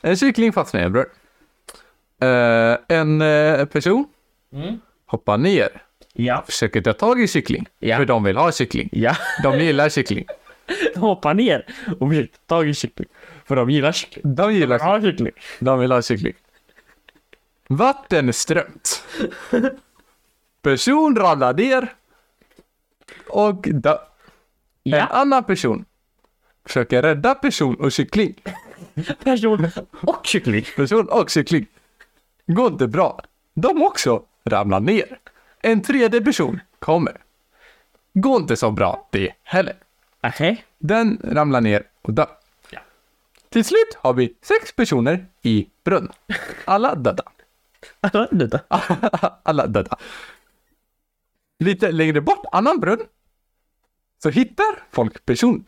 En kyckling fastnar i en brunn. Eh, en eh, person Mm. hoppar ner. Ja. Försöker ta tag i kyckling. Ja. För de vill ha kyckling. Ja. De gillar kyckling. De hoppar ner och försöker ta tag i kyckling. För de gillar kyckling. De gillar De har kyckling. De vill ha kyckling. Vattenströmt. Person ramlar ner och dö. En Ja. annan person försöker rädda person och kyckling. Eh, Person och kyckling. Person och kyckling. Går inte bra. De också ramlar ner. En tredje person kommer. Går inte så bra det heller. Okej. Den ramlar ner och dör. Ja. Till slut har vi sex personer i brunn. Alla döda. Alla döda. Alla döda. Lite längre bort, annan brunn. Så hittar folk person.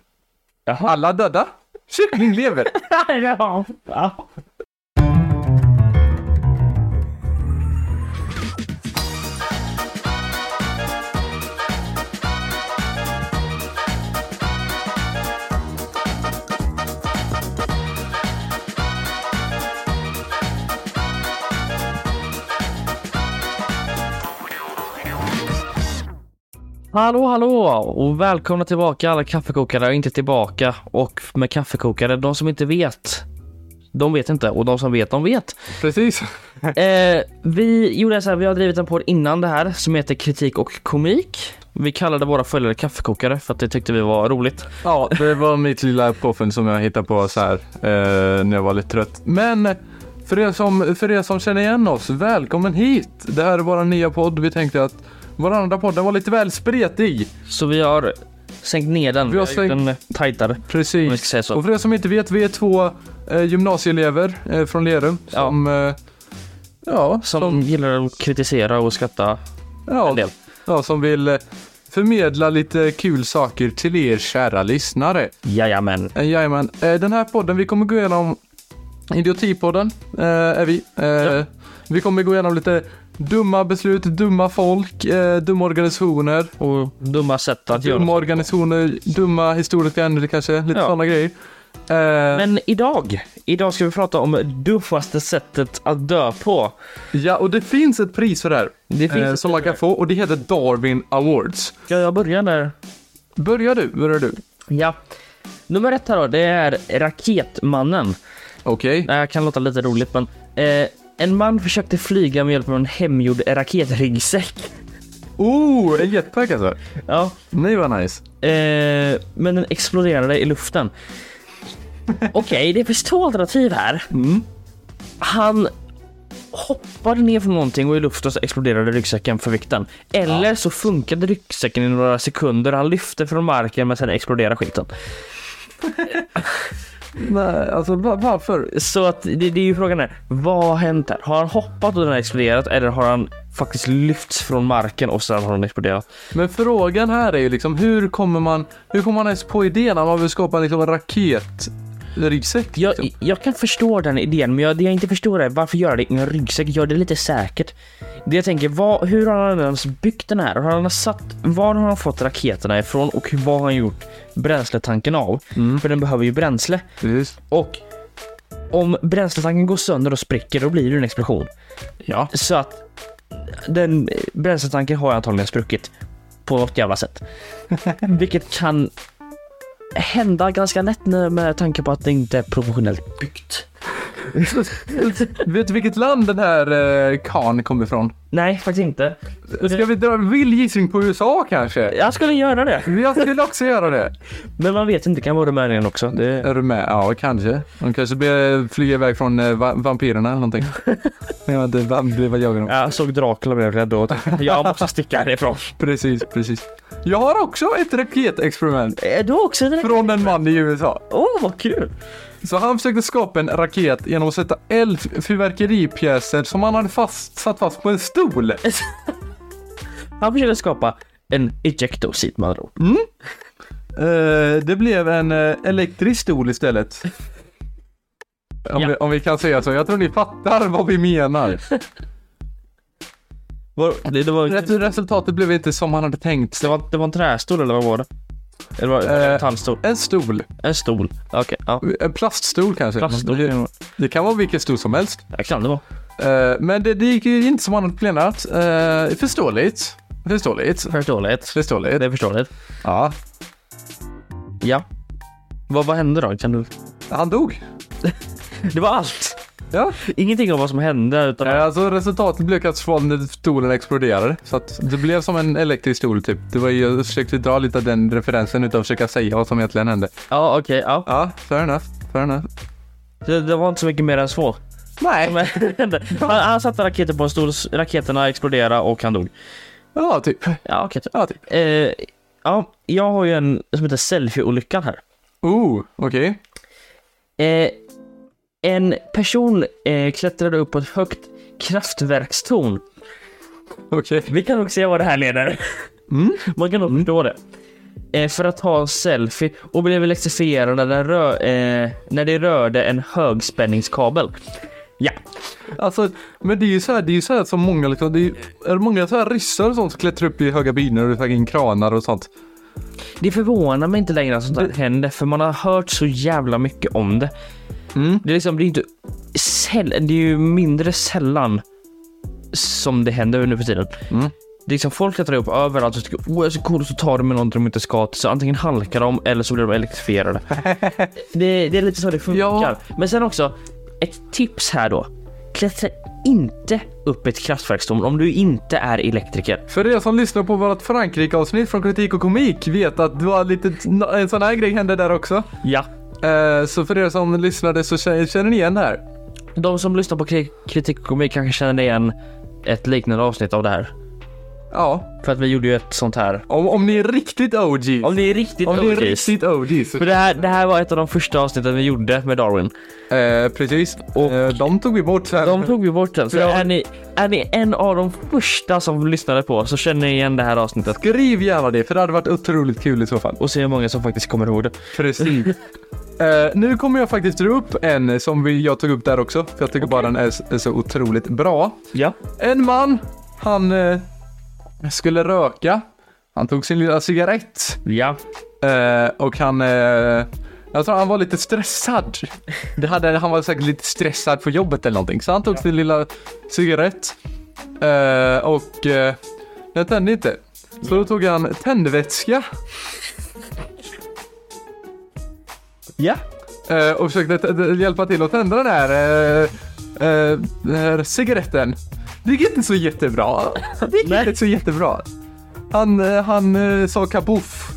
Jaha. Alla döda. Kyckling lever. Ja. Ja. Hallå hallå och välkomna tillbaka alla kaffekokare och inte tillbaka och med kaffekokare de som inte vet de vet inte och de som vet de vet. Precis. Eh, vi gjorde så här, vi har drivit en podd innan det här som heter kritik och komik. Vi kallade våra följare kaffekokare för att det tyckte vi var roligt. Ja, det var mitt lilla påfund som jag hittade på så här eh, när jag var lite trött. Men för er, som, för er som känner igen oss, välkommen hit. Det här är vår nya podd. Vi tänkte att vår andra podd den var lite väl spretig. Så vi har sänkt ner den. Vi har gjort sänkt- den eh, tajtare. Om vi ska Precis. säga så. Och för er som inte vet, vi är två eh, gymnasieelever eh, från Lerum som... Ja. Eh, ja, Som, som gillar att kritisera och skratta Ja, en del. ja, som vill eh, förmedla lite kul saker till er kära lyssnare. Jajamän. Eh, Jajamän, eh, den här podden, vi kommer gå igenom Idiotipodden, eh, är vi. Eh, Ja. Vi kommer gå igenom lite dumma beslut, dumma folk, eh, dumma organisationer, Och dumma sätt att göra. dumma organisationer, dumma historiska ämnen kanske, lite Ja. sådana grejer. Eh, Men idag, idag ska vi prata om dummaste sättet att dö på. Ja, och det finns ett pris för det här. Det finns eh, ett som man kan få och det heter Darwin Awards. Ska jag börja där? Börjar du, börjar du. Ja. Nummer ett här då, det är Raketmannen. Okej. Det här kan låta lite roligt men... Eh, en man försökte flyga med hjälp av en hemgjord raketriggsäck. Oh, en jetpack alltså. Ja. Nej vad nice. Eh, men den exploderade i luften. Okej, det finns två alternativ här. Mm. Han hoppade ner från någonting och i luften så exploderade ryggsäcken för vikten. Eller så funkade ryggsäcken i några sekunder. Han lyfte från marken men sen exploderade skiten. Nej, alltså va- varför? Så att det, det är ju frågan här. Vad har hänt här? Har han hoppat och den har exploderat eller har han faktiskt lyfts från marken och sen har den exploderat? Men frågan här är ju liksom hur kommer man, hur kommer man ens på idén att man vill skapa liksom en raketryggsäck? Jag, Liksom? jag kan förstå den idén, men jag, det jag inte förstår är varför göra det i en ryggsäck? Gör det lite säkert. Det jag tänker, vad, hur har han ens byggt den här? Har han satt, var har han fått raketerna ifrån och vad har han gjort bränsletanken av? För den behöver ju bränsle. Mm, Precis. Och om bränsletanken går sönder och spricker, då blir det en explosion. Ja. Så att den eh, bränsletanken har antagligen spruckit på något jävla sätt. Vilket kan hända ganska lätt när- med tanke på att det inte är professionellt byggt. Vet du vilket land den här eh, kan kommer ifrån? Nej, faktiskt inte. Ska vi dra en vild gissning på USA kanske? Jag skulle göra det, Jag skulle också göra det. men man vet inte. Det kan vara Rumänien också. Det... Är du med? Ja, kanske. De kanske blir, flyger iväg från eh, va- vampyrerna eller någonting. Jag vet inte, vampyrer, vad jagar de? Jag såg Dracula och blev rädd och tänkte, jag måste sticka härifrån. Precis, precis. Jag har också ett raketexperiment Är du också direkt? från en man i USA. Åh, vad kul! Så han försökte skapa en raket genom att sätta eld fyrverkeripjäser som han hade fast, satt fast på en stol. Han försökte skapa en ejecto seat med andra ord. Eh, det blev en eh, elektrisk stol istället. Om, Ja. vi, om vi kan säga så. Jag tror ni fattar vad vi menar. Var- Det, det, var, Rätt- Resultatet blev inte som han hade tänkt. det, var, det var en trästol eller vad var det? Det var Eh. en tandstol. En stol. En stol. Okej, ja. En plaststol kanske. Plaststol. Det, det kan vara vilken stol som helst. Det kan det vara. Eh, men det, det gick ju inte som annat planerat. Eh, förståeligt. Förståeligt. Förståeligt. Förståeligt. Det är förståeligt. Ja. Ja. Vad, vad hände då? Kan du... Han dog. Det var allt! Ja. Ingenting om vad som hände utan... Eh, Alltså resultatet blev katastrofen när stolen exploderade. Så att det blev som en elektrisk stol typ. Det var ju, jag försökte dra lite av den referensen utan att försöka säga vad som egentligen hände. Ja, okej. ja. Ja, fair enough. Fair enough. Det, det var inte så mycket mer än så. Nej. Men, han, han satte raketer på en stol, raketerna exploderade och han dog. Ja, typ. Ja, okej. Ja, typ. Eh, ja, jag har ju en som heter selfie-olyckan här. Oh, okej. Eh, en person eh, klättrade upp på ett högt kraftverkstorn. Okej. Vi kan nog se vad det här leder. Mm. Man kan nog förstå det. Eh, för att ta en selfie och blev elektrifierad när, den rö- eh, när det rörde en högspänningskabel. Ja, Alltså, men det är ju så här, det är ju så här som många liksom, det är, ju- är det många så här ryssar och sånt som klättrar upp i höga byggnader och fucking kranar och sånt. det förvånar mig inte längre att sånt här händer för man har hört så jävla mycket om det. Mm. Det är liksom, det är inte säll- det är ju mindre sällan som det händer nu för tiden. Mm. Det är liksom folk klättrar upp överallt och tycker åh jag är så cool och så tar de med någonting de inte ska till. Så antingen halkar de eller så blir de elektrifierade. det, det är lite så det funkar. Ja. Men sen också, ett tips här då. Klättra inte upp ett kraftverkstorn om du inte är elektriker. För er som lyssnar på vårt Frankrike-avsnitt från Kritik och Komik vet att det var lite, en sån här grej hände där också. Ja. Eh, så för er som lyssnade så känner, känner ni igen det här. De som lyssnar på kri- kritik och komik kanske känner igen ett liknande avsnitt av det här. Ja, För att vi gjorde ju ett sånt här. om, om ni är riktigt OGs. Om ni är riktigt Om ni är OGs. riktigt OGs. För det här, det här var ett av de första avsnitten vi gjorde med Darwin. Eh, precis. Och Och- de tog vi bort sen. De tog vi bort sen. Så Ja. är ni, är ni en av de första som lyssnade på så känner ni igen det här avsnittet. Skriv gärna det, för det hade varit otroligt kul i så fall. Och se hur många som faktiskt kommer ihåg det. Precis. Eh, nu kommer jag faktiskt dra upp en som vi, jag tog upp där också, för jag tycker bara den är, s- är så otroligt bra. Ja. En man, han eh, skulle röka. Han tog sin lilla cigarett. Ja. Eh, och han... Eh, jag tror han var lite stressad. Det hade, han var säkert lite stressad på jobbet eller någonting. Så han tog sin lilla cigarett. Eh, och... Eh, den tände inte. Så då tog han tändvätska Ja. eh, och försökte t- t- hjälpa till att tända den här, eh, eh, den här cigaretten. Det gick inte så jättebra. Det gick Nej. inte så jättebra. Han, eh, han eh, sa kabuff.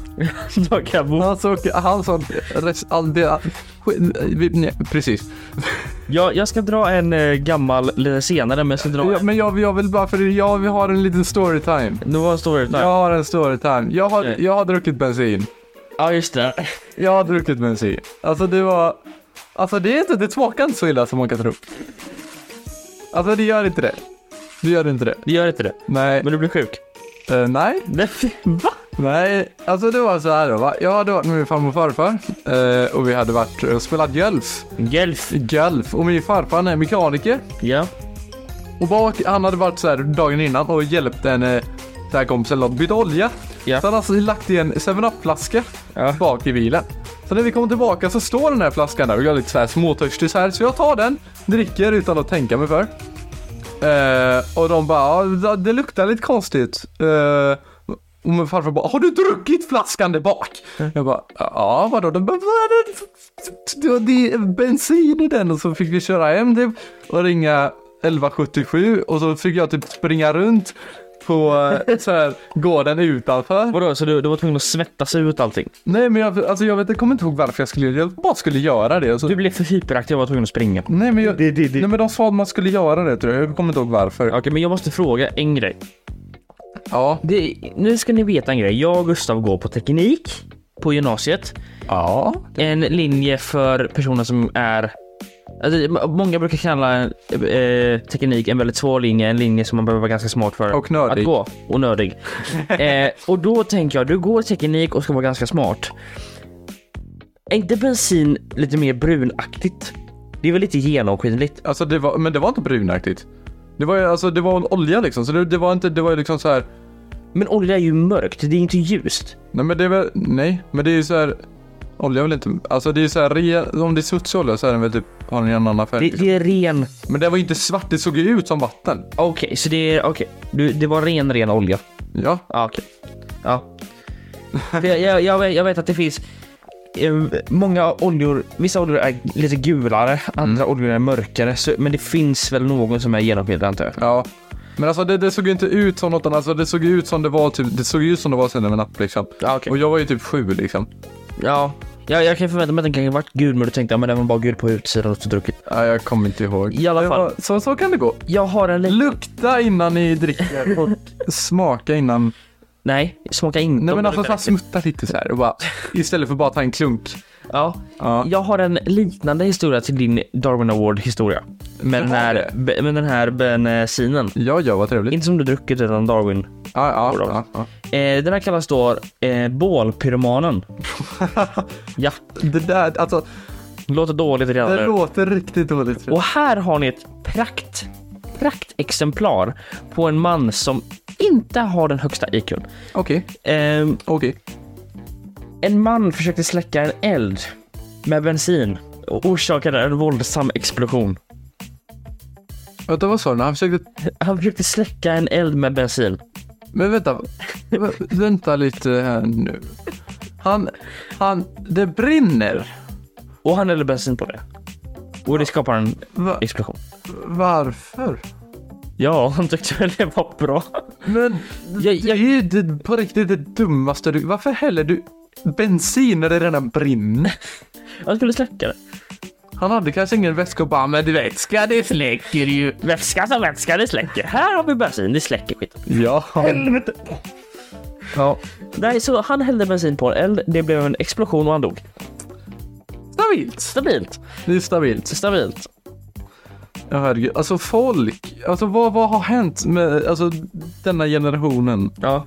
Jag kan bo. Han sa, han sa, res- all- det- vi- nej, precis. Jag, jag ska dra en eh, gammal lite senare men jag ska dra Ja, en. men jag, jag vill bara, för jag vi har en liten storytime. Det var en story Jag ja. har en storytime. Jag har, Okej. jag har druckit bensin. ja just det. Jag har druckit bensin. Alltså det var, alltså det är inte, det smakar inte så illa som man kan tro. Alltså det gör inte det. Det gör inte det. Det gör inte det. Nej, Men du blir sjuk. eh, nej, Nej, fy- Va? nej. Alltså det var så här då va. Jag hade varit med min farmor och farfar eh, och vi hade varit och spelat golf. Gelf. Golf. Och min farfar han är mekaniker. Ja. Och bak, han hade varit så här dagen innan och hjälpt en eh, så här kompis eller något, bytt olja. Ja. Så han hade alltså lagt i en 7-Up-flaska Ja. bak i bilen. Så när vi kommer tillbaka så står den här flaskan där och jag är lite så här småtörstig så här. Så jag tar den, dricker utan att tänka mig för. Eh, och de bara, ja, det luktar lite konstigt. Eh, och min farfar bara, har du druckit flaskan där bak? Mm. Jag bara, ja vadå? De bara, vad är det? det är bensin i den och så fick vi köra hem typ och ringa 1177 och så fick jag typ springa runt på eh, så här gården utanför. Vadå så du, du var tvungen att svettas ut allting? Nej men jag, alltså jag vet, jag kommer inte ihåg varför jag skulle, jag bara skulle göra det. Så, Du blev för hyperaktiv och var tvungen att springa. nej men jag, Det- det- det- nej men de sa att man skulle göra det tror jag, jag kommer inte ihåg varför. Okej men jag måste fråga en grej. Ja. Det, nu ska ni veta en grej. Jag och Gustav går på teknik på gymnasiet. Ja. En linje för personer som är... alltså, m- Många brukar kalla eh, teknik en väldigt svår linje, en linje som man behöver vara ganska smart för Och nördig. att gå. Och nördig. eh, och då tänker jag, du går teknik och ska vara ganska smart. Är inte bensin lite mer brunaktigt? Det är väl lite genomskinligt? Alltså det var, men det var inte brunaktigt. Det var ju, alltså det var en olja liksom, så det, det var inte, det var ju liksom så här. Men olja är ju mörkt, det är inte ljust. Nej men det är väl, nej, men det är ju så här. Olja är väl inte, alltså det är ju så här, re, om det är smutsig olja så är den väl typ, har den en annan färg. Det, liksom. det är ren... Men det var ju inte svart, det såg ju ut som vatten. Okej, så det är... Okej. Du, Det var ren, ren olja. Ja, Ja, okej. Ja. För jag, jag, jag, vet, jag vet att det finns eh, många oljor, vissa oljor är lite gulare, Mm. andra oljor är mörkare. Så, men det finns väl någon som är genomskinlig antar jag. ja. Men alltså det, det såg ju inte ut som något annat, alltså det såg ju ut som det var typ, det såg ju ut som det var sen en napp liksom. Ja, okej. Och jag var ju typ sju liksom. Ja. ja, jag kan förvänta mig att den kanske varit gul men du tänkte ja, men den var bara gul på utsidan och så druckit. Nej, jag kommer inte ihåg. I alla Det fall. var- Så, så kan det gå. Jag har en liten... Lukta innan ni dricker och smaka innan. Nej, smaka in. Nej De men alltså luktar så här smutta lite så här och bara, istället för bara ta en klunk. äckligt. Ja. Ja. Jag har en liknande historia till din Darwin Award historia. Med den här, be- med den här bensinen. Ja, ja, vad trevligt. Inte som du druckit redan Darwin. Ja, Bra. ja, ja, Eh, den här kallas då eh, bålpyromanen. ja, ja. Det där, alltså, låter dåligt redan det nu. låter riktigt dåligt. Och här har ni ett prakt, praktexemplar på en man som inte har den högsta IQn. Okej, Eh, okej. en man försökte släcka en eld med bensin och orsakade en våldsam explosion. Vänta, vad sa du? Han försökte Han försökte släcka en eld med bensin. Men vänta, v- vänta lite här nu. Han, han, det brinner. Och han hällde bensin på det. Och det skapar en Va, explosion. varför? Ja, han tyckte väl det var bra. Men Jag- det är ju det, på riktigt det dummaste du... Varför häller du bensin när det redan brinner? Han skulle släcka det. Han hade kanske ingen väska och bara, men du vet, ska det släcker ju. Vätska som vätska, det släcker. Här har vi bensin, det släcker skit. Ja. Helvete. ja. Nej, så han hällde bensin på en eld, det blev en explosion och han dog. Stabilt. Stabilt. Det är stabilt. Stabilt. Ja, herregud. Alltså folk, alltså vad, vad har hänt med, alltså denna generationen? Ja.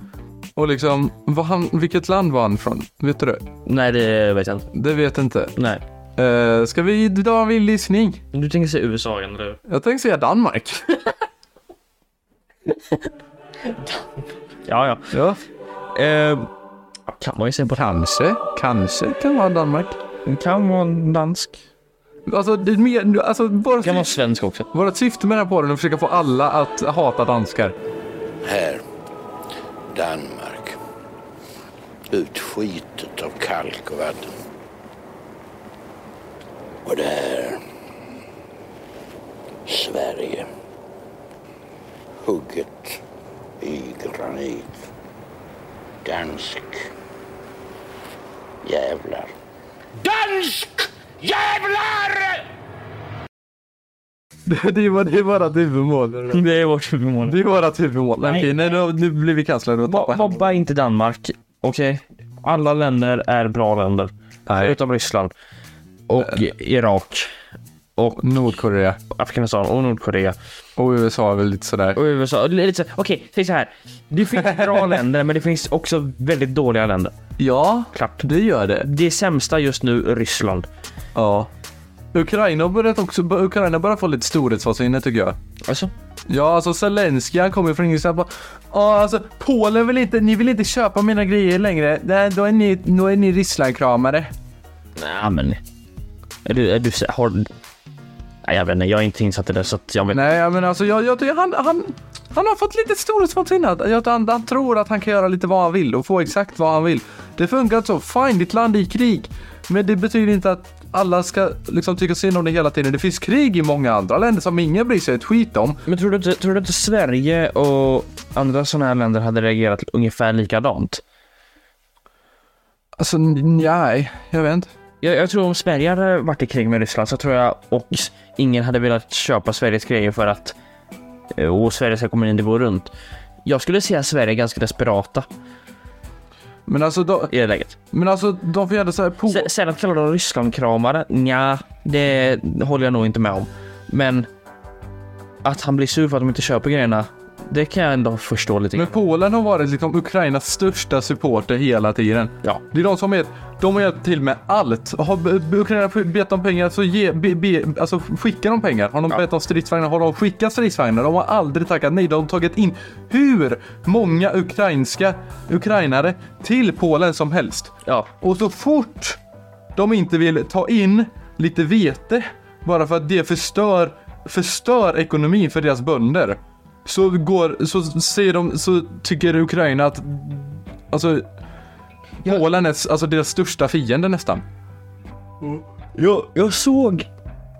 Och liksom, vad han, vilket land var han från? Vet du det? Nej, det vet jag inte. Det vet jag inte. Nej. Uh, ska vi dra en vild gissning? Du tänker säga USA igen, eller Jag tänkte säga Danmark. Ja, ja. ja. Eh, kan man ju säga på Kanske, kanske kan vara Danmark. Kan vara dansk. Alltså, det är mer, alltså vårt, Kan vara syfte, svensk också. vårt syfte med den här podden är att försöka få alla att hata danskar. Här, Danmark. Utskitet av kalk och vatten. Och det här, Sverige. Hugget i granit. Dansk. Jävlar. Dansk jävlar! Det, det, är, vår- det är vårat huvudmål. det är det. Det är vårt huvudmål. Det är vårat huvudmål. Nej, Nej. okej, nej, nu, nu blir vi kanslade. och Mo- tappar handen. Mobba inte Danmark. Okej? Alla länder är bra länder. Nej. Utom Ryssland. Och Irak. Och Nordkorea Afghanistan och Nordkorea. och USA är väl lite sådär. Och USA. Och det är lite så- Okej, säg så här. Det finns bra länder, men det finns också väldigt dåliga länder. Ja, Klart. det gör det. Det sämsta just nu, Ryssland. Ja. Ukraina har börjat också, Ukraina börjar få lite storhetsvansinne tycker jag. Alltså? Ja, alltså Zelenskyj han kommer från Ryssland och bara, "Ja, alltså Polen vill inte, ni vill inte köpa mina grejer längre. Nej, då är ni, då är ni Rysslandkramare. Nej, men... Är du... Är du sä- har... Nej, jag vet inte. Jag är inte insatt i det, så att jag vet Nej, men alltså jag, jag tycker han, han, han har fått lite storhetsvansinne. Jag- Han, han tror att han kan göra lite vad han vill och få exakt vad han vill. Det funkar så. Fine, ditt land är i krig. Men det betyder inte att alla ska liksom tycka synd om det hela tiden. Det finns krig i många andra länder som ingen bryr sig ett skit om. Men tror du, inte, tror du inte Sverige och andra sådana här länder hade reagerat ungefär likadant? Alltså, nej, jag vet inte. Jag, jag tror om Sverige hade varit i krig med Ryssland så tror jag och ingen hade velat köpa Sveriges grejer för att eh, och Sveriges ekonomi inte går runt. Jag skulle säga att Sverige är ganska desperata Men alltså, de, i det läget. men alltså, de får göra så här på... Se- Sen att kalla dem Rysslandkramare, nja, det håller jag nog inte med om. Men att han blir sur för att de inte köper grejerna, Det kan jag ändå förstå lite Men grann. Polen har varit liksom Ukrainas största supporter hela tiden. Ja. Det är de som är, de har hjälpt till med allt. Har B- B- Ukraina bett om pengar så ge, be, be, alltså skickar de pengar. Har de Ja. bett om stridsvagnar har de skickat stridsvagnar. De har aldrig tackat nej. De har tagit in hur många ukrainska ukrainare till Polen som helst. Ja. Och så fort de inte vill ta in lite vete bara för att det förstör, förstör ekonomin för deras bönder. Så går, så säger de, så tycker Ukraina att alltså Ja. Polen är s- alltså deras största fiende nästan. Jag, jag såg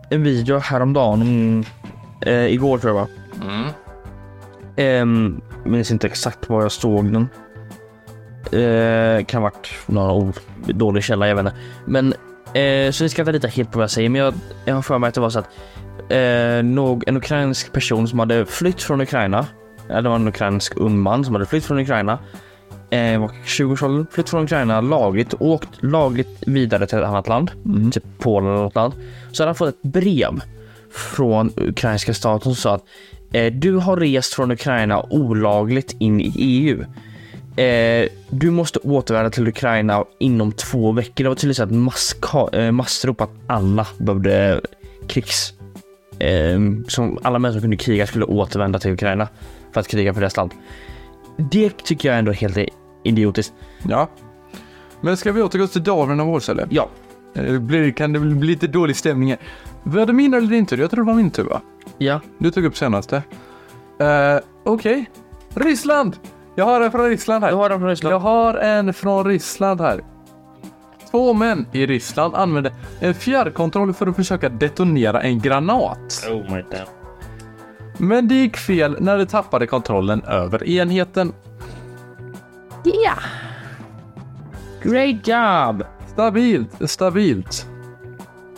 en video häromdagen. Mm, eh, igår tror jag va? Mm. minns inte exakt var jag såg den. Eh, kan ha varit några ord. Dålig källa, jag vet inte. Men eh, så ni ska inte lita helt på vad jag säger. Men jag, jag har för mig att det var så att eh, nog en ukrainsk person som hade flytt från Ukraina. Eller det var en ukrainsk ung man som hade flytt från Ukraina. Eh, var 20-årsåldern, flytt från Ukraina lagligt och åkt lagligt vidare till ett annat land. Typ Polen eller något land. Så hade han fått ett brev från ukrainska staten som sa att eh, du har rest från Ukraina olagligt in i EU. Eh, du måste återvända till Ukraina inom två veckor. Det var tydligen så att masska- eh, massrop att alla behövde krigs... Eh, som alla människor som kunde kriga skulle återvända till Ukraina för att kriga för deras land. Det tycker jag ändå är helt idiotiskt. Ja. Men ska vi återgå till Davren av Ås eller? Ja, Eh, blir- Kan det bli lite dålig stämning här? Var det min eller din tur? Jag tror det var min tur va? ja, Du tog upp senaste. Eh, Okej. Ryssland! Jag har en från Ryssland här. jag har den från Ryssland. Jag har en från Ryssland här. Två män i Ryssland använde en fjärrkontroll för att försöka detonera en granat. Oh my damn. Men det gick fel när de tappade kontrollen över enheten. Yeah. Great job! Stabilt, stabilt.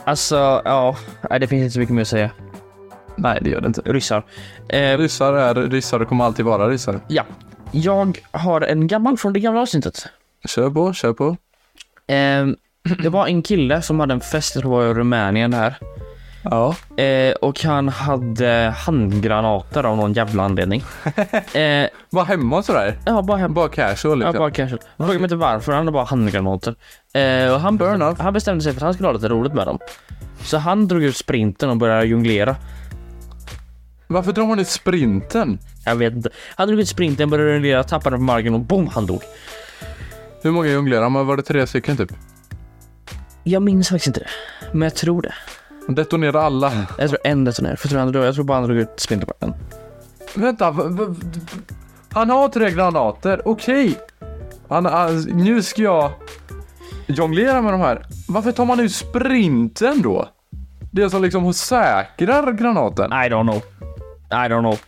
Alltså, ja, nej, det finns inte så mycket mer att säga. Nej, det gör det inte. Ryssar. Eh, Ryssar är ryssar och kommer alltid vara ryssar. ja, jag har en gammal från det gamla avsnittet. Kör på, kör på. Eh, det var en kille som hade en fest, jag tror det var i Rumänien här. Ja. Eh, och han hade handgranater av någon jävla anledning. Eh, Var hemma och sådär. ja, bara hem. Bara casual Ja, liksom. bara casual. Fråga mig inte varför, han hade bara handgranater. Eh, och han, Fair enough. han bestämde sig för att han skulle ha lite roligt med dem. Så han drog ut sprinten och började jonglera. Varför drar man ut sprinten? Jag vet inte. Han drog ut sprinten, började jonglera, tappade den på marken och boom, han dog. Hur många jonglerar man? Var det tre stycken typ? Jag minns faktiskt inte det, men jag tror det. Detonera alla. Jag tror en detonerade, för jag tror, han drog, jag tror bara han drog ut sprinten på en. Vänta, v- v- v- han har tre granater, okej. Han, han, nu ska jag jonglera med de här. Varför tar man ut sprinten då? Det som liksom säkrar granaten. I don't know. I don't know.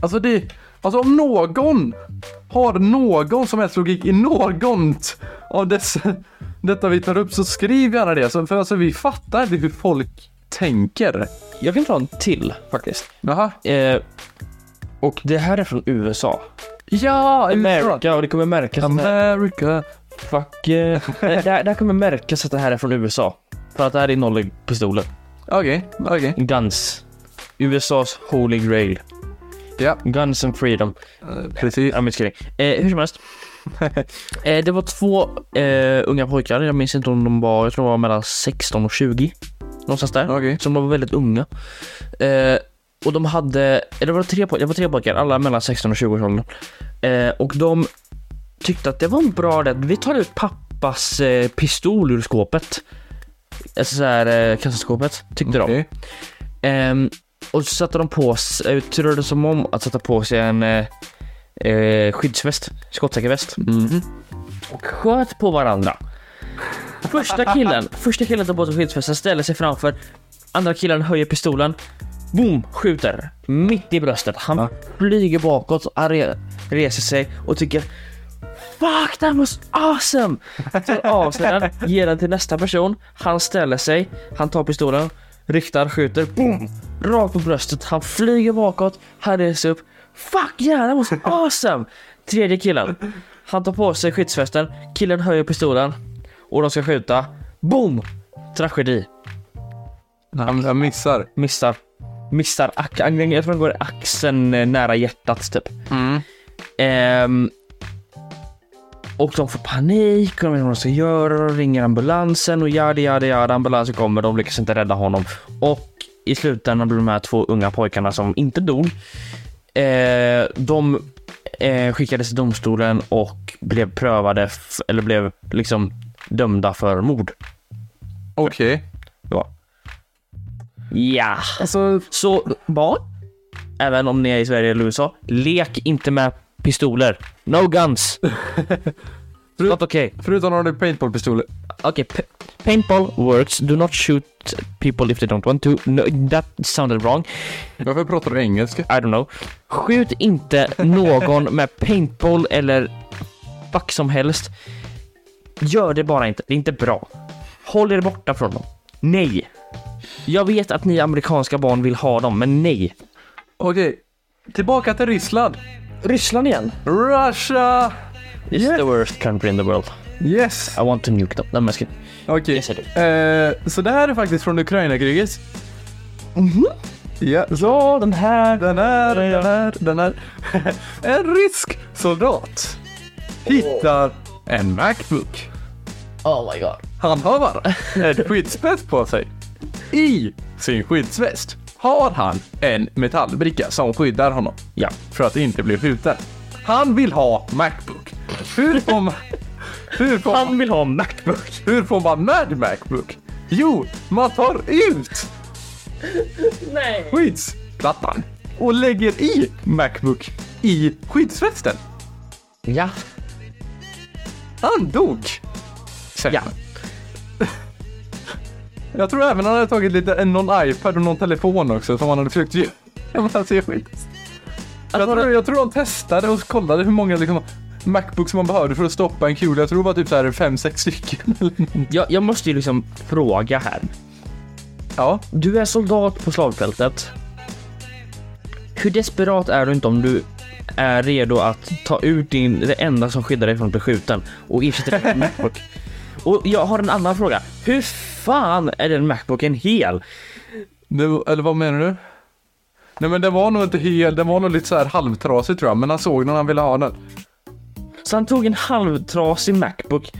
Alltså det, alltså om någon har någon som helst logik i något av dessa, detta vi tar upp så skriv gärna det. Så- För alltså vi fattar inte hur folk tänker. Jag kan ta en till faktiskt. Jaha. Eh, och det här är från USA. Ja, Mm, USA. America, och det kommer märkas att det här- America. Fuck yeah. det, här, det här kommer märkas att det här är från USA. För att det här är nollpistoler. Okej, okej. Guns. USAs holy grail. Ja, Guns and freedom. precis. Ja, men skrik. Eh, hur som helst. eh, det var två eh, unga pojkar, jag minns inte om de var, jag tror de var mellan 16 och 20. Någonstans där. Okej. Som de var väldigt unga. Eh, och de hade, eller var det tre pojkar? Det var tre pojkar, alla mellan 16 och 20 års ålder. Eh, och de tyckte att det var en bra idé, vi tar ut pappas eh, pistol ur skåpet. Alltså såhär, eh, kassaskåpet, tyckte de. Okej. Ehm, och så satte de på sig, turade som om att sätta på sig en eh, eh, skyddsväst, skottsäker väst. Och sköt på varandra. Första killen, första killen tar på sig skyddsvästen, ställer sig framför. Andra killen höjer pistolen. Boom! Skjuter. Mitt i bröstet. Han Ja. flyger bakåt, han re- reser sig och tycker Fuck that was awesome! Tar av sig den, ger den till nästa person. Han ställer sig, han tar pistolen, riktar, skjuter, boom! Rakt på bröstet, han flyger bakåt, han reser upp. Fuck yeah, that was awesome! Tredje killen. Han tar på sig skyddsvästen, killen höjer pistolen och de ska skjuta. Boom! Tragedi. Han, han missar. Missar. missar ax- jag tror den går i axeln eh, nära hjärtat typ. Ehm, och de får panik och de vet inte vad de ska göra. De ringer ambulansen och jada jada jada. Ambulansen kommer. De lyckas inte rädda honom och i slutändan blir de här två unga pojkarna som inte dog. Eh, de eh, skickades till domstolen och blev prövade f- eller blev liksom dömda för mord. Okej. Ja. Ja. Alltså, Så barn, även om ni är i Sverige eller USA, lek inte med pistoler. No guns. Not okay. förutom har du paintballpistoler. Okay, p- paintball works. Do not shoot people if they don't want to. No, that sounded wrong. Varför pratar du engelska? I don't know. Skjut inte någon med paintball eller fuck som helst. Gör det bara inte. Det är inte bra. Håll er borta från dem. Nej. Jag vet att ni amerikanska barn vill ha dem, men nej. Okej, tillbaka till Ryssland. Ryssland igen. Russia! It's Yes. the worst country in the world. Yes! I want to nuke them. Nej, men jag ska... Okej. Yes, I Eh, så det här är faktiskt från Ukraina-kriget. Ja, Ja, den här. Mhm. den här, den här, den här. en rysk soldat hittar en Macbook. Oh my god. Han har en skyddsväst på sig. I sin skyddsväst har han en metallbricka som skyddar honom Ja. för att inte bli skjuten. Han vill ha Macbook. Hur får man... Hur får man, Han vill ha Macbook. hur får man med Macbook? Jo, man tar ut Nej. skyddsplattan och lägger i Macbook i skyddsvästen. Ja. Han dog. Säger Ja. man. Jag tror även han hade tagit lite, en- någon iPad och någon telefon också som han hade försökt ge. Jag måste se skit. Jag tror, jag tror de testade och kollade hur många liksom, Macbooks man behövde för att stoppa en kula. Jag tror det var typ så här 5-6 stycken. eller någonting. Jag, jag måste ju liksom fråga här. ja, Du är soldat på slagfältet. Hur desperat är du inte om du är redo att ta ut din, det enda som skyddar dig från att bli skjuten och ersätta det med en Macbook? Och jag har en annan fråga. Hur fan är den Macbooken hel? det, eller vad menar du? Nej men den var nog inte hel, den var nog lite så här halvtrasig tror jag. Men han såg den, han ville ha den. Så han tog en halvtrasig Macbook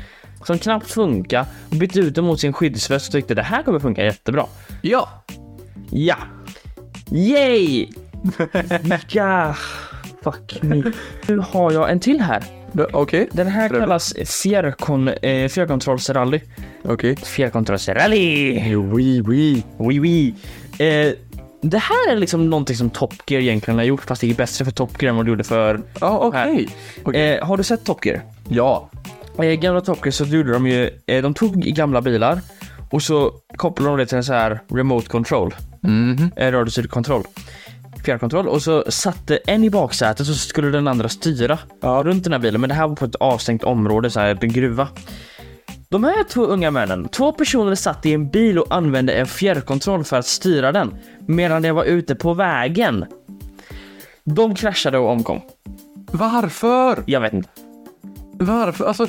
som knappt funkar, bytte ut den mot sin skyddsväst och tyckte det här kommer funka jättebra. Ja, Ja! Yay! ja! Fuck me. Nu har jag en till här. det- okej. Den här Trevligt. kallas fjärrkon, eh, fjärrkontrollsrally. Okej. Fjärrkontrollsrally! Oui, oui. Oui, oui. Eh, det här är liksom någonting som Top Gear egentligen har gjort, fast det är bättre för Top Gear än vad det gjorde för... Ja, okej. Okej. Eh, har du sett Top Gear? Ja. eh, gamla Top Gear så gjorde de ju, eh, de tog gamla bilar och så kopplade de det till en så här remote control, Mhm. eh, radiostyrd kontroll, fjärrkontroll och så satte en i baksätet så skulle den andra styra runt den här bilen men det här var på ett avstängt område, så här en gruva. De här två unga männen, två personer satt i en bil och använde en fjärrkontroll för att styra den medan de var ute på vägen. De kraschade och omkom. Varför? Jag vet inte. Varför? Alltså,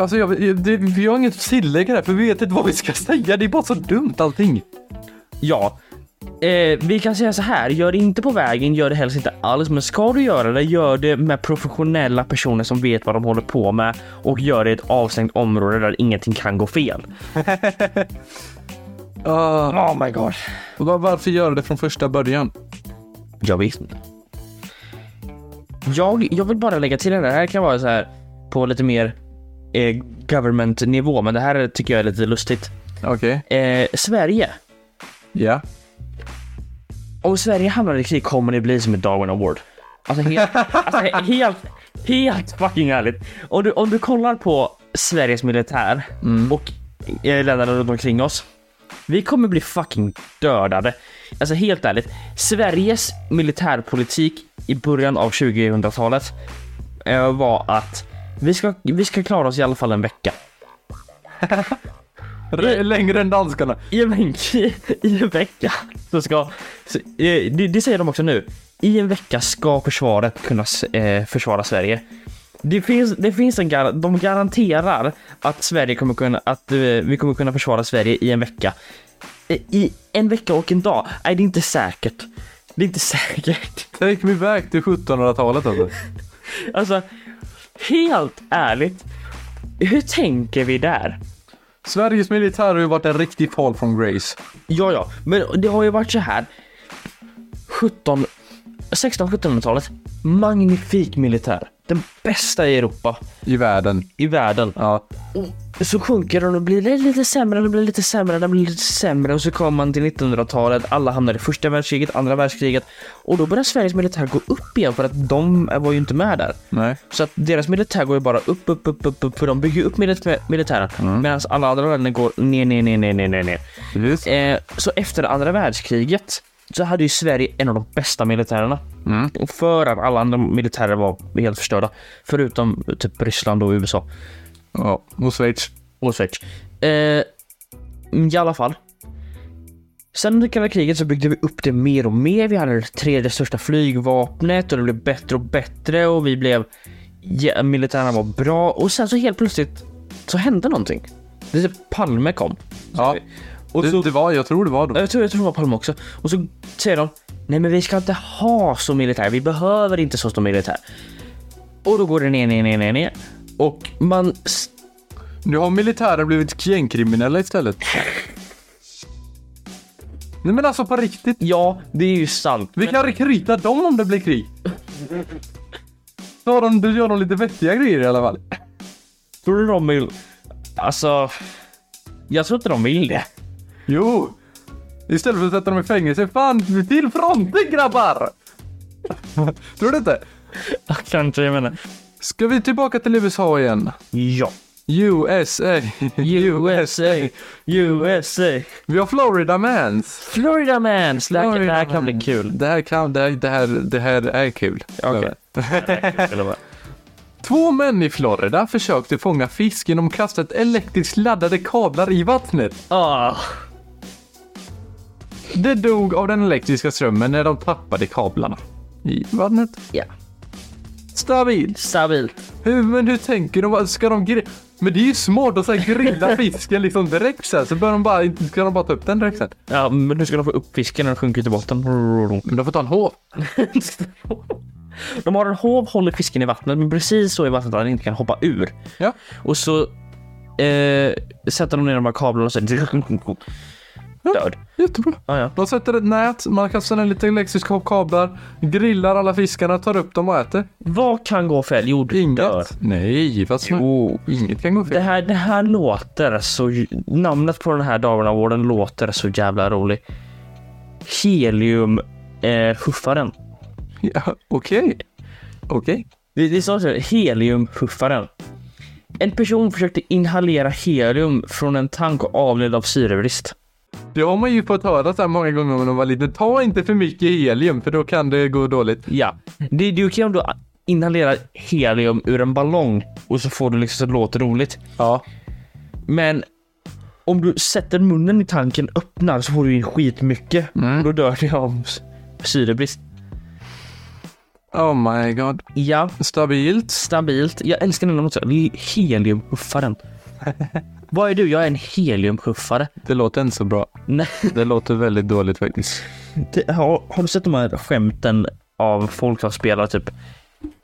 alltså jag, det, vi har inget tillägg här för vi vet inte vad vi ska säga. Det är bara så dumt allting. Ja. Eh, vi kan säga så här, gör det inte på vägen, gör det helst inte alls. Men ska du göra det, gör det med professionella personer som vet vad de håller på med och gör det i ett avstängt område där ingenting kan gå fel. Uh, Oh my god. varför göra det från första början? Jag vet inte. Jag, jag vill bara lägga till det här. Det här kan vara så här på lite mer eh, government nivå, men det här tycker jag är lite lustigt. Okej. Eh, Sverige. Ja. Om Sverige hamnar i krig kommer det bli som ett Darwin Award. Alltså helt, alltså he- helt, helt fucking ärligt. Om du, om du kollar på Sveriges militär och eh, länderna runt omkring oss. Vi kommer bli fucking dödade. Alltså helt ärligt. Sveriges militärpolitik i början av 2000-talet eh, var att vi ska, vi ska klara oss i alla fall en vecka. R- längre än danskarna. I en, veck- i en vecka så ska, så, eh, det, det säger de också nu, i en vecka ska försvaret kunna s- eh, försvara Sverige. Det finns, det finns en gar, de garanterar att Sverige kommer kunna, att eh, vi kommer kunna försvara Sverige i en vecka. i en vecka och en dag. Nej, det är inte säkert. Det är inte säkert. Take me back till 1700-talet alltså. Alltså, helt ärligt. Hur tänker vi där? Sveriges militär har ju varit en riktig fall från Grace. Ja, ja, men det har ju varit så här. 17, 16-1700-talet. Magnifik militär. Den bästa i Europa, I världen. i världen. Ja. Så sjunker den och blir lite sämre, den blir lite sämre, den blir lite sämre och så kommer man till 1900-talet. Alla hamnar i första världskriget, andra världskriget och då börjar Sveriges militär gå upp igen för att de var ju inte med där. Nej. Så att deras militär går ju bara upp, upp, upp, upp, upp för de bygger ju upp militär, militären medan alla andra länder går ner, ner, ner, ner, ner, ner, ner. Precis. Eh, så efter andra världskriget så hade ju Sverige en av de bästa militärerna. Och För att alla andra militärer var helt förstörda. Förutom typ Ryssland och USA Ja. Och Schweiz. och Schweiz. Eh, I alla fall. Sen under kalla kriget så byggde vi upp det mer och mer. Vi hade det tredje största flygvapnet och det blev bättre och bättre och vi blev... Ja, militärerna var bra och sen så helt plötsligt så hände någonting. Det är typ Palme kom. Ja. Och Det, så, det var, jag tror det var då. jag, tror, jag tror det var Palme också. Och så säger de Nej men vi ska inte ha så militär. Vi behöver inte så stor militär. Och då går det ner, ner, ner, ner, ner. Och man s- Nu har militären blivit gängkriminella istället. Nej men alltså på riktigt. Ja, det är ju sant. Vi kan rekryta dem om det blir krig. Då, har de, då gör de lite vettiga grejer i alla fall. Tror du de vill... Alltså... Jag tror inte de vill det. Jo! Istället för att sätta dem i fängelse. Fan, till fronten grabbar! Tror du inte? Kanske, jag menar. Ska vi tillbaka till USA igen? Ja. USA. USA, USA. Vi har Florida Mans. Florida man! Slack, det här Florida kan man. bli kul. Det här kan, det här, det här, det här är kul. Okej. Två män i Florida försökte fånga fisk genom att kasta ett elektriskt laddade kablar i vattnet. Ah, Det dog av den elektriska strömmen när de tappade kablarna. I vattnet. ja. Stabilt. Stabilt. Hur, men hur tänker de? Ska de gri- Men det är ju smart att så här grilla fisken liksom direkt så här, så bör de bara, inte- ska de bara ta upp den direkt sen. Ja, men nu ska de få upp fisken när den sjunker till botten. Men de får ta en håv. De har en hov, håller fisken i vattnet, men precis så i vattnet att den inte kan hoppa ur. Ja. Och så eh, sätter de ner de här kablarna och så... Död. Jättebra. Ah, ja. De sätter ett nät, man kastar en liten elektrisk hopp kablar, grillar alla fiskarna, tar upp dem och äter. Vad kan gå fel? Jo, du Inget. Oh. dör. Nej, vad snö. Jo. Inget kan gå Det fel. här, det här låter så... Namnet på den här Darwin Awarden låter så jävla rolig. Helium eh, huffaren. Ja, Okej. Okej. Det, det står så här, helium huffaren. En person försökte inhalera helium från en tank och avled av syrebrist. Det har man ju fått höra så här många gånger när man var liten. Ta inte för mycket helium för då kan det gå dåligt. Ja, det, det är okej om du inhalerar helium ur en ballong och så får du liksom så det låter roligt. Ja. Men om du sätter munnen i tanken öppnar så får du in skitmycket. Mm. Då dör det av s- syrebrist. Oh my god. Ja, Stabilt. stabilt. Jag älskar den också. Heliumhuffaren. Vad är du? Jag är en heliumhuffare. Det låter inte så bra. Nej. Det låter väldigt dåligt faktiskt. Det- Har, har du sett de här skämten av folk som spelar typ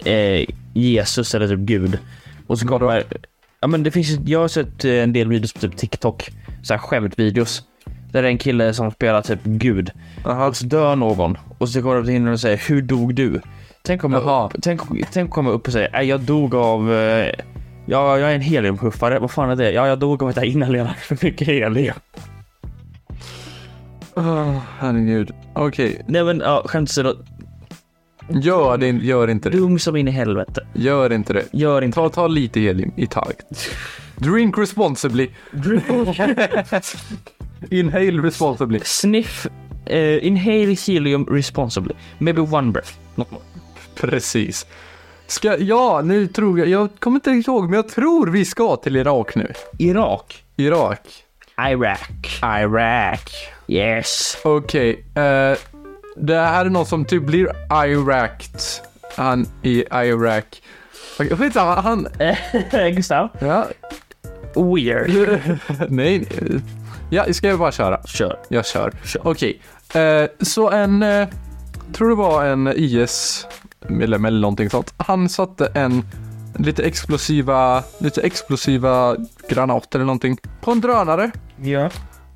eh, Jesus eller typ Gud? Och så kommer... Ja men det finns ju- Jag har sett eh, en del videos på typ TikTok. Så här skämtvideos. Där det är en kille som spelar typ Gud. Jaha. Och så dör någon. Och så går de till himlen och säger Hur dog du? Tänk om jag, Jaha. upp, tänk, tänk om jag upp och säger "Nej, Jag dog av... Eh, ja, jag är en heliumpuffare. Vad fan är det? Ja, jag dog av att jag inhalerade för mycket helium. Oh, herregud. Okej. Nej men ja, skämt åsido. Gör, det, gör inte det. Dum som in i helvete. Gör inte det. Gör inte... Ta, ta lite helium i takt. Drink responsibly. Inhale responsibly. Sniff. eh, inhale helium responsibly. Maybe one breath. Not more. Precis. Ska, ja, nu tror jag, jag kommer inte ihåg, men jag tror vi ska till Irak nu. Irak. Irak. Iraq. Irak. Yes. Okej, eh, det här är någon som typ blir Irakt. Han i Irak. Okej, Skitsamma, han... Gustav. Ja. Weird. nej, nej. Ja, ska jag bara köra? Kör. Jag kör. Kör. Okej. Eh, så en, eh, tror det var en IS-medlem eller någonting sånt. Han satte en lite explosiva, lite explosiva granater eller någonting på en drönare. Ja.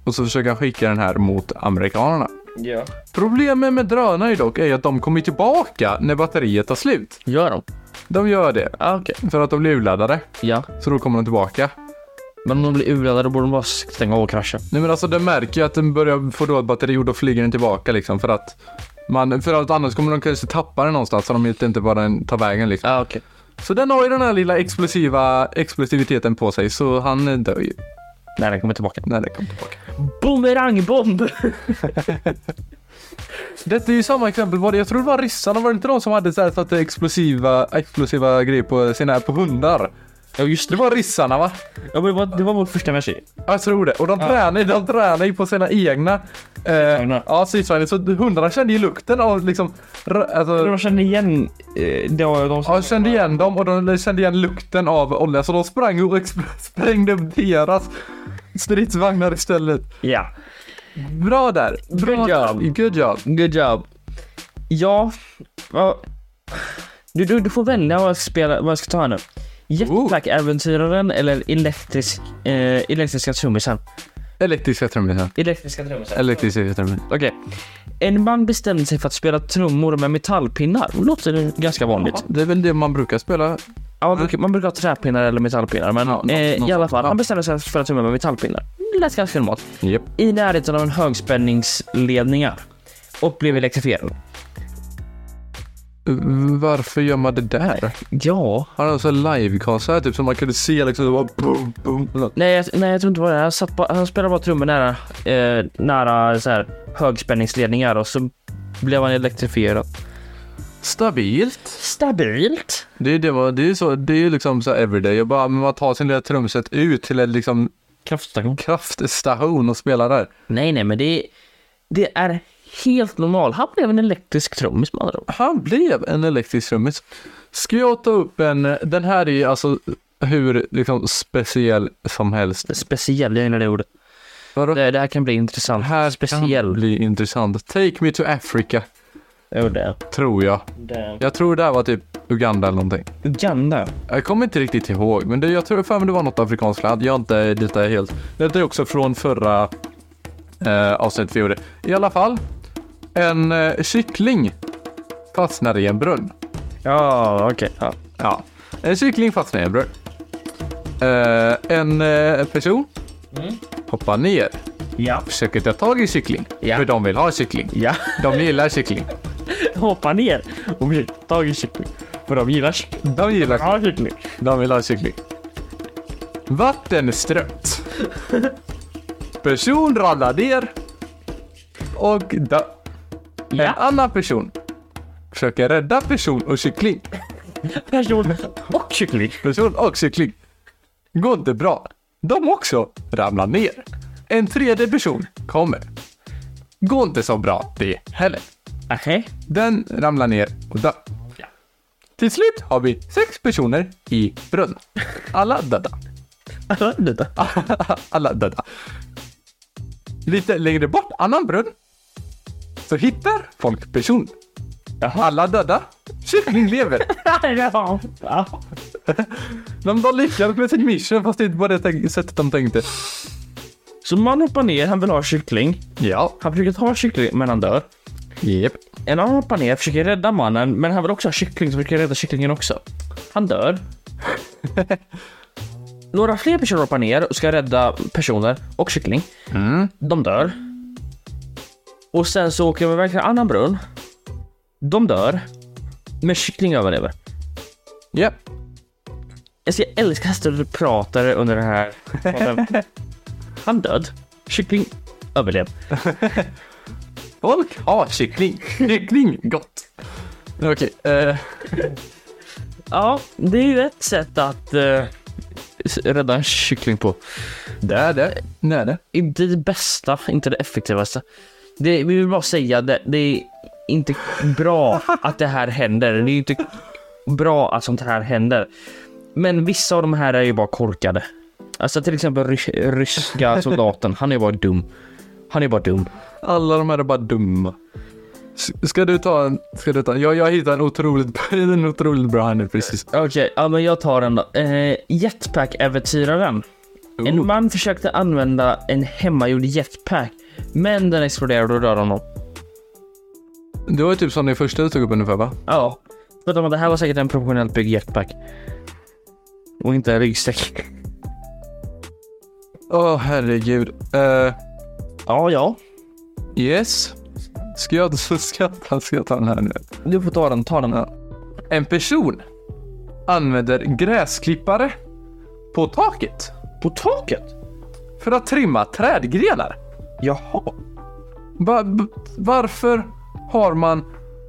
Och så försöker han skicka den här mot amerikanerna. Ja. Problemet med drönare dock är att de kommer tillbaka när batteriet tar slut. Gör de? De gör det. Ah, Okej. För att de blir urladdade. Ja. Så då kommer de tillbaka. Men om de blir urladdade då borde de bara stänga av och krascha. Nej men alltså den märker ju att den börjar få dåligt batteri och då flyger den tillbaka liksom för att man, för att annars kommer de kanske tappa den någonstans så de vet inte var den tar vägen liksom. Ah, Okej. Så den har ju den här lilla explosiva explosiviteten på sig så han eh, dör ju Nej, den kommer tillbaka. när det kommer tillbaka. Bumerangbomb! Detta är ju samma exempel, var det, jag tror det var ryssarna, var det inte de som hade så här satte explosiva, explosiva grejer på sina, på hundar? ja, just Det var ryssarna va? Ja, men det, var, det var vårt första match. Jag tror det. Och de tränar ju, de tränar ju på sina egna eh, Stridsvagnar. Ja, stridsvagnar. Så hundarna kände ju lukten av liksom, r- alltså, De kände igen eh, det var de Ja, jag kände igen dem och de kände igen lukten av olja så de sprang och exp- sprängde upp deras stridsvagnar istället. Ja. Bra där! Bra Good job. Good job! Good job. Ja, vad... Du, du, du får välja vad jag, ska spela, vad jag ska ta här nu. Jetpack-äventyraren eller elektrisk, eh, elektriska trummisen? Elektriska trummisen. Elektriska trummisen. Elektriska trummisen. Okej. En man bestämde sig för att spela trummor med metallpinnar. Det låter ganska vanligt. Det är väl det man brukar spela. Ja, man, brukar, man brukar ha träpinnar eller metallpinnar, men Ja, något- eh, något i alla sånt. fall. Ja. Han bestämde sig för att spela trummor med metallpinnar. Det lät ganska normalt. Japp. i närheten av en högspänningsledningar och blev elektrifierad. Varför gör man det där? Ja. Har han så livekonsert typ som man kunde se liksom, det var boom, boom. eller något. Nej jag, nej, jag tror inte det var det. Han, satt på, han spelade bara trummor nära, eh, nära så här, högspänningsledningar och så blev han elektrifierad. Stabilt. Stabilt. Det är ju det man- det är ju så, det är ju liksom så här everyday. Jag bara, men man tar sin lilla trumset ut till en liksom Kraftstation. kraftstation och spelar där. Nej, nej, men det, det är helt normalt. Han blev en elektrisk trummis med andra ord. Han blev en elektrisk trummis. Ska jag ta upp en, den här är ju alltså hur liksom speciell som helst. Speciell, jag gillar det ordet. Vadå? Det, det här kan bli intressant. Det här kan Speciell. bli intressant. Take me to Africa, Jo, det. tror jag. det. Jag tror det här var typ Uganda eller någonting. Uganda. Jag kommer inte riktigt ihåg, men det, jag tror för mig det var något afrikanskt land. Jag är inte detta helt. Detta är också från förra eh, avsnittet vi gjorde. I alla fall, en eh, kyckling fastnar i en brunn. Ja, okej. Ja. Ja. En kyckling fastnar i en brunn. Eh, en eh, person Mm. hoppar ner, Ja. försöker ta tag i kyckling. Ja. För de vill ha kyckling. Ja. De gillar kyckling. hoppa ner och bli tag i kyckling. För de gillar kyckling. De gillar Ja, kyckling. De vill ha kyckling. Vattenstrött. Person ramlar ner och dör. En Ja, annan person försöker rädda person och kyckling. person och kyckling. Person och cykling. Går inte bra. De också ramlar ner. En tredje person kommer. Går inte så bra det heller. Okej. Den ramlar ner och dör. Ja. Till slut har vi sex personer i brunn. Alla döda. Okay. Alla döda. Lite längre bort, annan brunn. Så hittar folk person. Jaha. Alla döda. Kyckling lever. Ja. De har lyckats med sin mission fast det inte var det tänk- sättet de tänkte. Så man hoppar ner, han vill ha kyckling. Ja. Han försöker ta kyckling, men han dör. Jep. En annan hoppar ner, försöker rädda mannen, men han vill också ha kyckling, så försöker rädda kycklingen också. Han dör. Några fler personer hoppar ner och ska rädda personer och kyckling. De dör. Och sen så åker de iväg till en annan brunn. De dör. Men kyckling överlever. Japp. Jag ska älska att du pratar under den här podden. Han död. Kyckling överlev. Folk har kyckling. Kyckling, gott. Okej, eh, Ja, det är ju ett sätt att eh, s- rädda en kyckling på. det är det. Det är det. Inte det bästa, inte det effektivaste. Det, vi vill bara säga det, det är inte bra att det här händer. Det är inte bra att sånt här händer. Men vissa av de här är ju bara korkade. Alltså till exempel rys ryska soldaten, han är bara dum. Han är bara dum. Alla de här är bara dumma. S- Ska du ta en? Ska du ta en? Jag, jag hittade en otroligt, en otroligt bra här nu precis. Okej, ja men jag tar den då. Eh, jetpack-äventyraren. En man försökte använda en hemmagjord jetpack, men den exploderade och dödade honom. Det var ju typ som det första du tog upp ungefär va? Ja. Förutom att det här var säkert en professionellt byggd jetpack. Och inte en ryggsäck. Åh herregud. Eh, Ja, ja. yes. Ska jag, ska, jag, ska jag ta den här nu? Du får ta den, ta den. Ja. En person använder gräsklippare på taket På taket? för att trimma trädgrenar. Jaha. Va- b- varför har man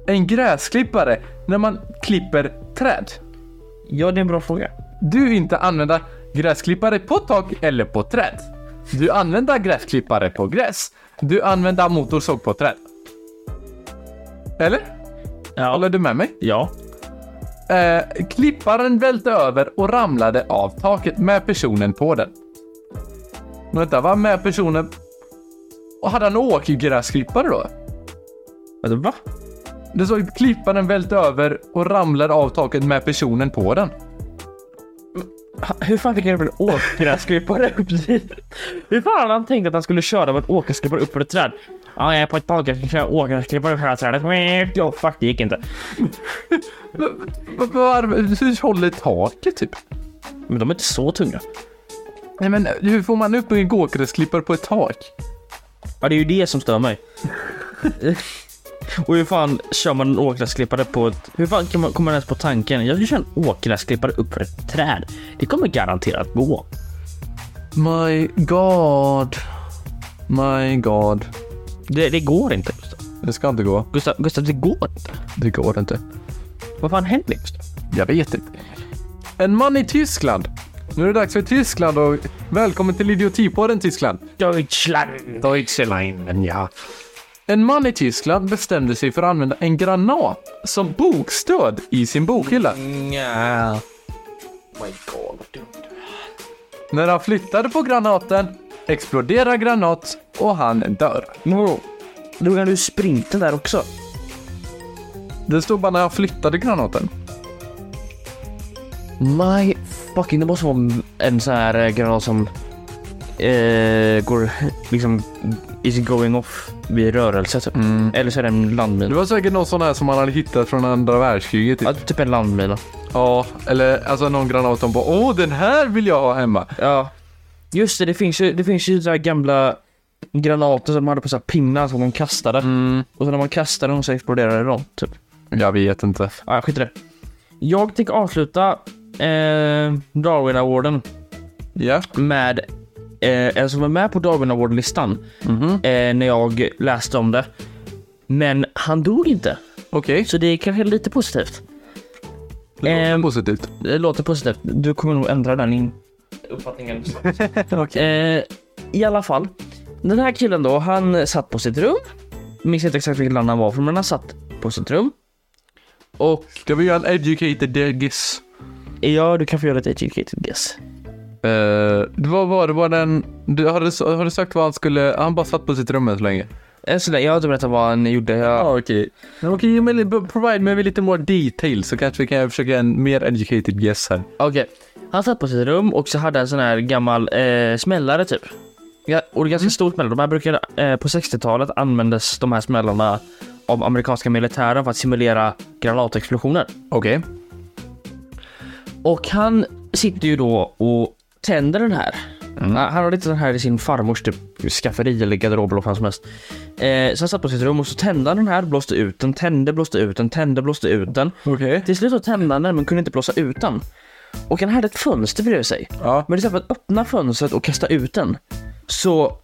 en gräsklippare när man klipper träd? Ja, det är en bra fråga. Du inte använda gräsklippare på tak eller på träd. Du använder gräsklippare på gräs. Du använder motorsåg på träd. Eller? Håller Ja. du med mig? Ja. Eh, klipparen välte över och ramlade av taket med personen på den. Vänta, vad med personen? Och hade han åkgräsklippare då? Alltså, va? Det såg ju klipparen välte över och ramlade av taket med personen på den. Ha- Hur fan fick han upp en åkgräsklippare upp dit? Hur fan hade han tänkt att han skulle köra med en åkgräsklippare upp för ett träd? Ja, jag är på ett taket, jag ska köra åkgräsklippare upp hela trädet. Ja, fuck, det gick inte. V- v- var- Hur håller taket typ? Men de är inte så tunga. Nej men hur får man upp en åkgräsklippare på ett tak? Ja, det är ju det som stör mig. Och hur fan kör man en åkgräsklippare på ett... Hur fan kan man, kommer man ens på tanken? Jag ska köra en åkgräsklippare upp för ett träd. Det kommer garanterat gå. My God. My God. Det, det går inte. Gustav. Det ska inte gå. Gustav, Gustav, det går inte. Det går inte. Vad fan händer Gustav? Jag vet inte. En man i Tyskland. Nu är det dags för Tyskland och välkommen till Idiotipodden Tyskland. Deutschland, Deutschland, ja. En man i Tyskland bestämde sig för att använda en granat som bokstöd i sin bokhylla. Nja. My God, dude. När han flyttade på granaten exploderar granat och han dör. Men vadå? Då kan du sprinta där också. Det stod bara när han flyttade granaten. My fucking, det måste vara en sån här eh, granat som eh, går liksom is going off vid rörelse typ. Eller så är det en Det landmina. var säkert någon sån här som han hade hittat från andra världskriget. Ja, Typ. typ en landmina. Ja, eller alltså någon granat som bara åh den här vill jag ha hemma. Ja. Just det, det finns ju, det finns ju så här gamla granater som de hade på så här pinnar som de kastade. Och så när man kastade dem så exploderade de typ. Mm. Jag vet inte. Ja, skit i det. Jag tänker avsluta eh, Darwin Award Ja. med eh, en som var med på Darwin Award-listan Mhm. eh, när jag läste om det. Men han dog inte, Okej. så det är kanske lite positivt. Det låter Ehm. positivt. Det låter positivt. Du kommer nog ändra den in. uppfattningen. eh, I alla fall, den här killen då, han satt på sitt rum. Minns inte exakt vilket land han var från, men han satt på sitt rum. Och Ska vi göra en educated degis? ja, du kan få göra ett educated guess. Uh, vad var det? Var den... Du, har, du, har du sagt vad han skulle... Han bara satt på sitt rum än så länge. Än så länge, jag har inte berättat vad han gjorde. Jag, Ja, okej. Okay. Okej, okay, provide mig med lite more detail så kanske vi kan försöka en mer educated guess här. Okej. Han satt på sitt rum och så hade en sån här gammal eh, smällare typ. Ja, och det är ganska stor smällare. De här brukade, eh, på 60-talet användes de här smällarna av amerikanska militären för att simulera granatexplosioner. Okej. Och han sitter ju då och tänder den här. Han han har lite den här i sin farmors typ skafferi eller garderob eller vad fan som helst. Eh, så han satt på sitt rum och så tände han den här, blåste ut den, tände, blåste ut den, tände, blåste ut den. Okej. Till slut så tände han den men kunde inte blåsa ut den. Och han hade ett fönster bredvid sig. Ja. Men istället för att öppna fönstret och kasta ut den så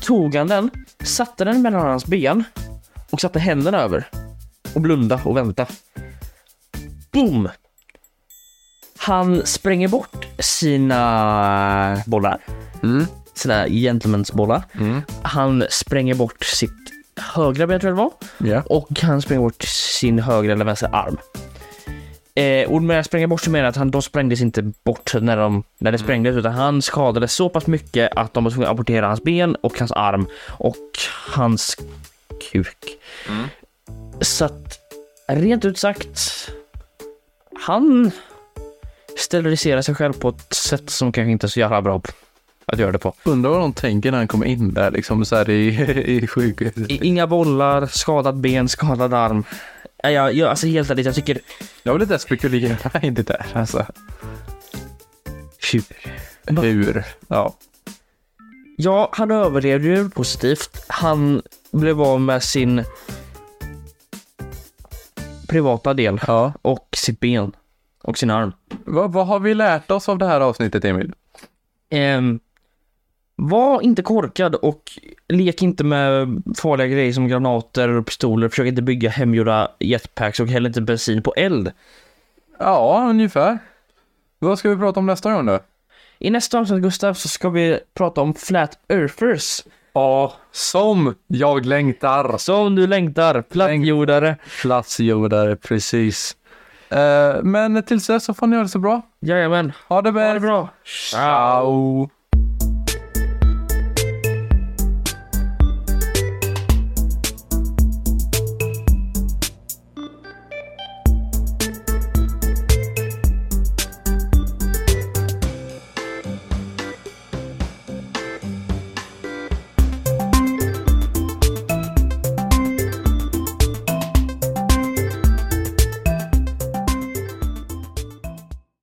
tog han den, satte den mellan hans ben och satte händerna över och blunda och vänta. Boom! Han spränger bort sina bollar. Mm. Sina gentlemensbollar. Mm. Han spränger bort sitt högra ben tror jag det var. Ja. Och han spränger bort sin högra eller vänstra arm. Eh, och med att spränga bort så menar jag att han, de sprängdes inte bort när, de, när det sprängdes utan han skadades så pass mycket att de var tvungna att abortera hans ben och hans arm och hans kuk. Mm. Så att rent ut sagt, han steriliserar sig själv på ett sätt som kanske inte är så jävla bra att göra det på. Undrar vad de tänker när han kommer in där liksom så här i, i sjukhuset. I- Inga bollar, skadat ben, skadad arm. Nej, Jag, jag, alltså helt ärligt, jag tycker Jag vill inte ens spekulera i det där alltså. Tjur. Hur? Ja. Ja, han överlevde ju positivt. Han blev av med sin privata del ja. och sitt ben och sin arm. Vad, vad har vi lärt oss av det här avsnittet Emil? Ehm, var inte korkad och lek inte med farliga grejer som granater och pistoler. Försök inte bygga hemgjorda jetpacks och häll inte bensin på eld. Ja, ungefär. Vad ska vi prata om nästa gång då? I nästa avsnitt Gustav så ska vi prata om flat earthers. Ja, som jag längtar. Som du längtar, plattjordare. Platsjordare, precis. Eh, men tills dess så får ni ha det så bra. Jajamän, Ha det ha det bäst. bra. Ciao.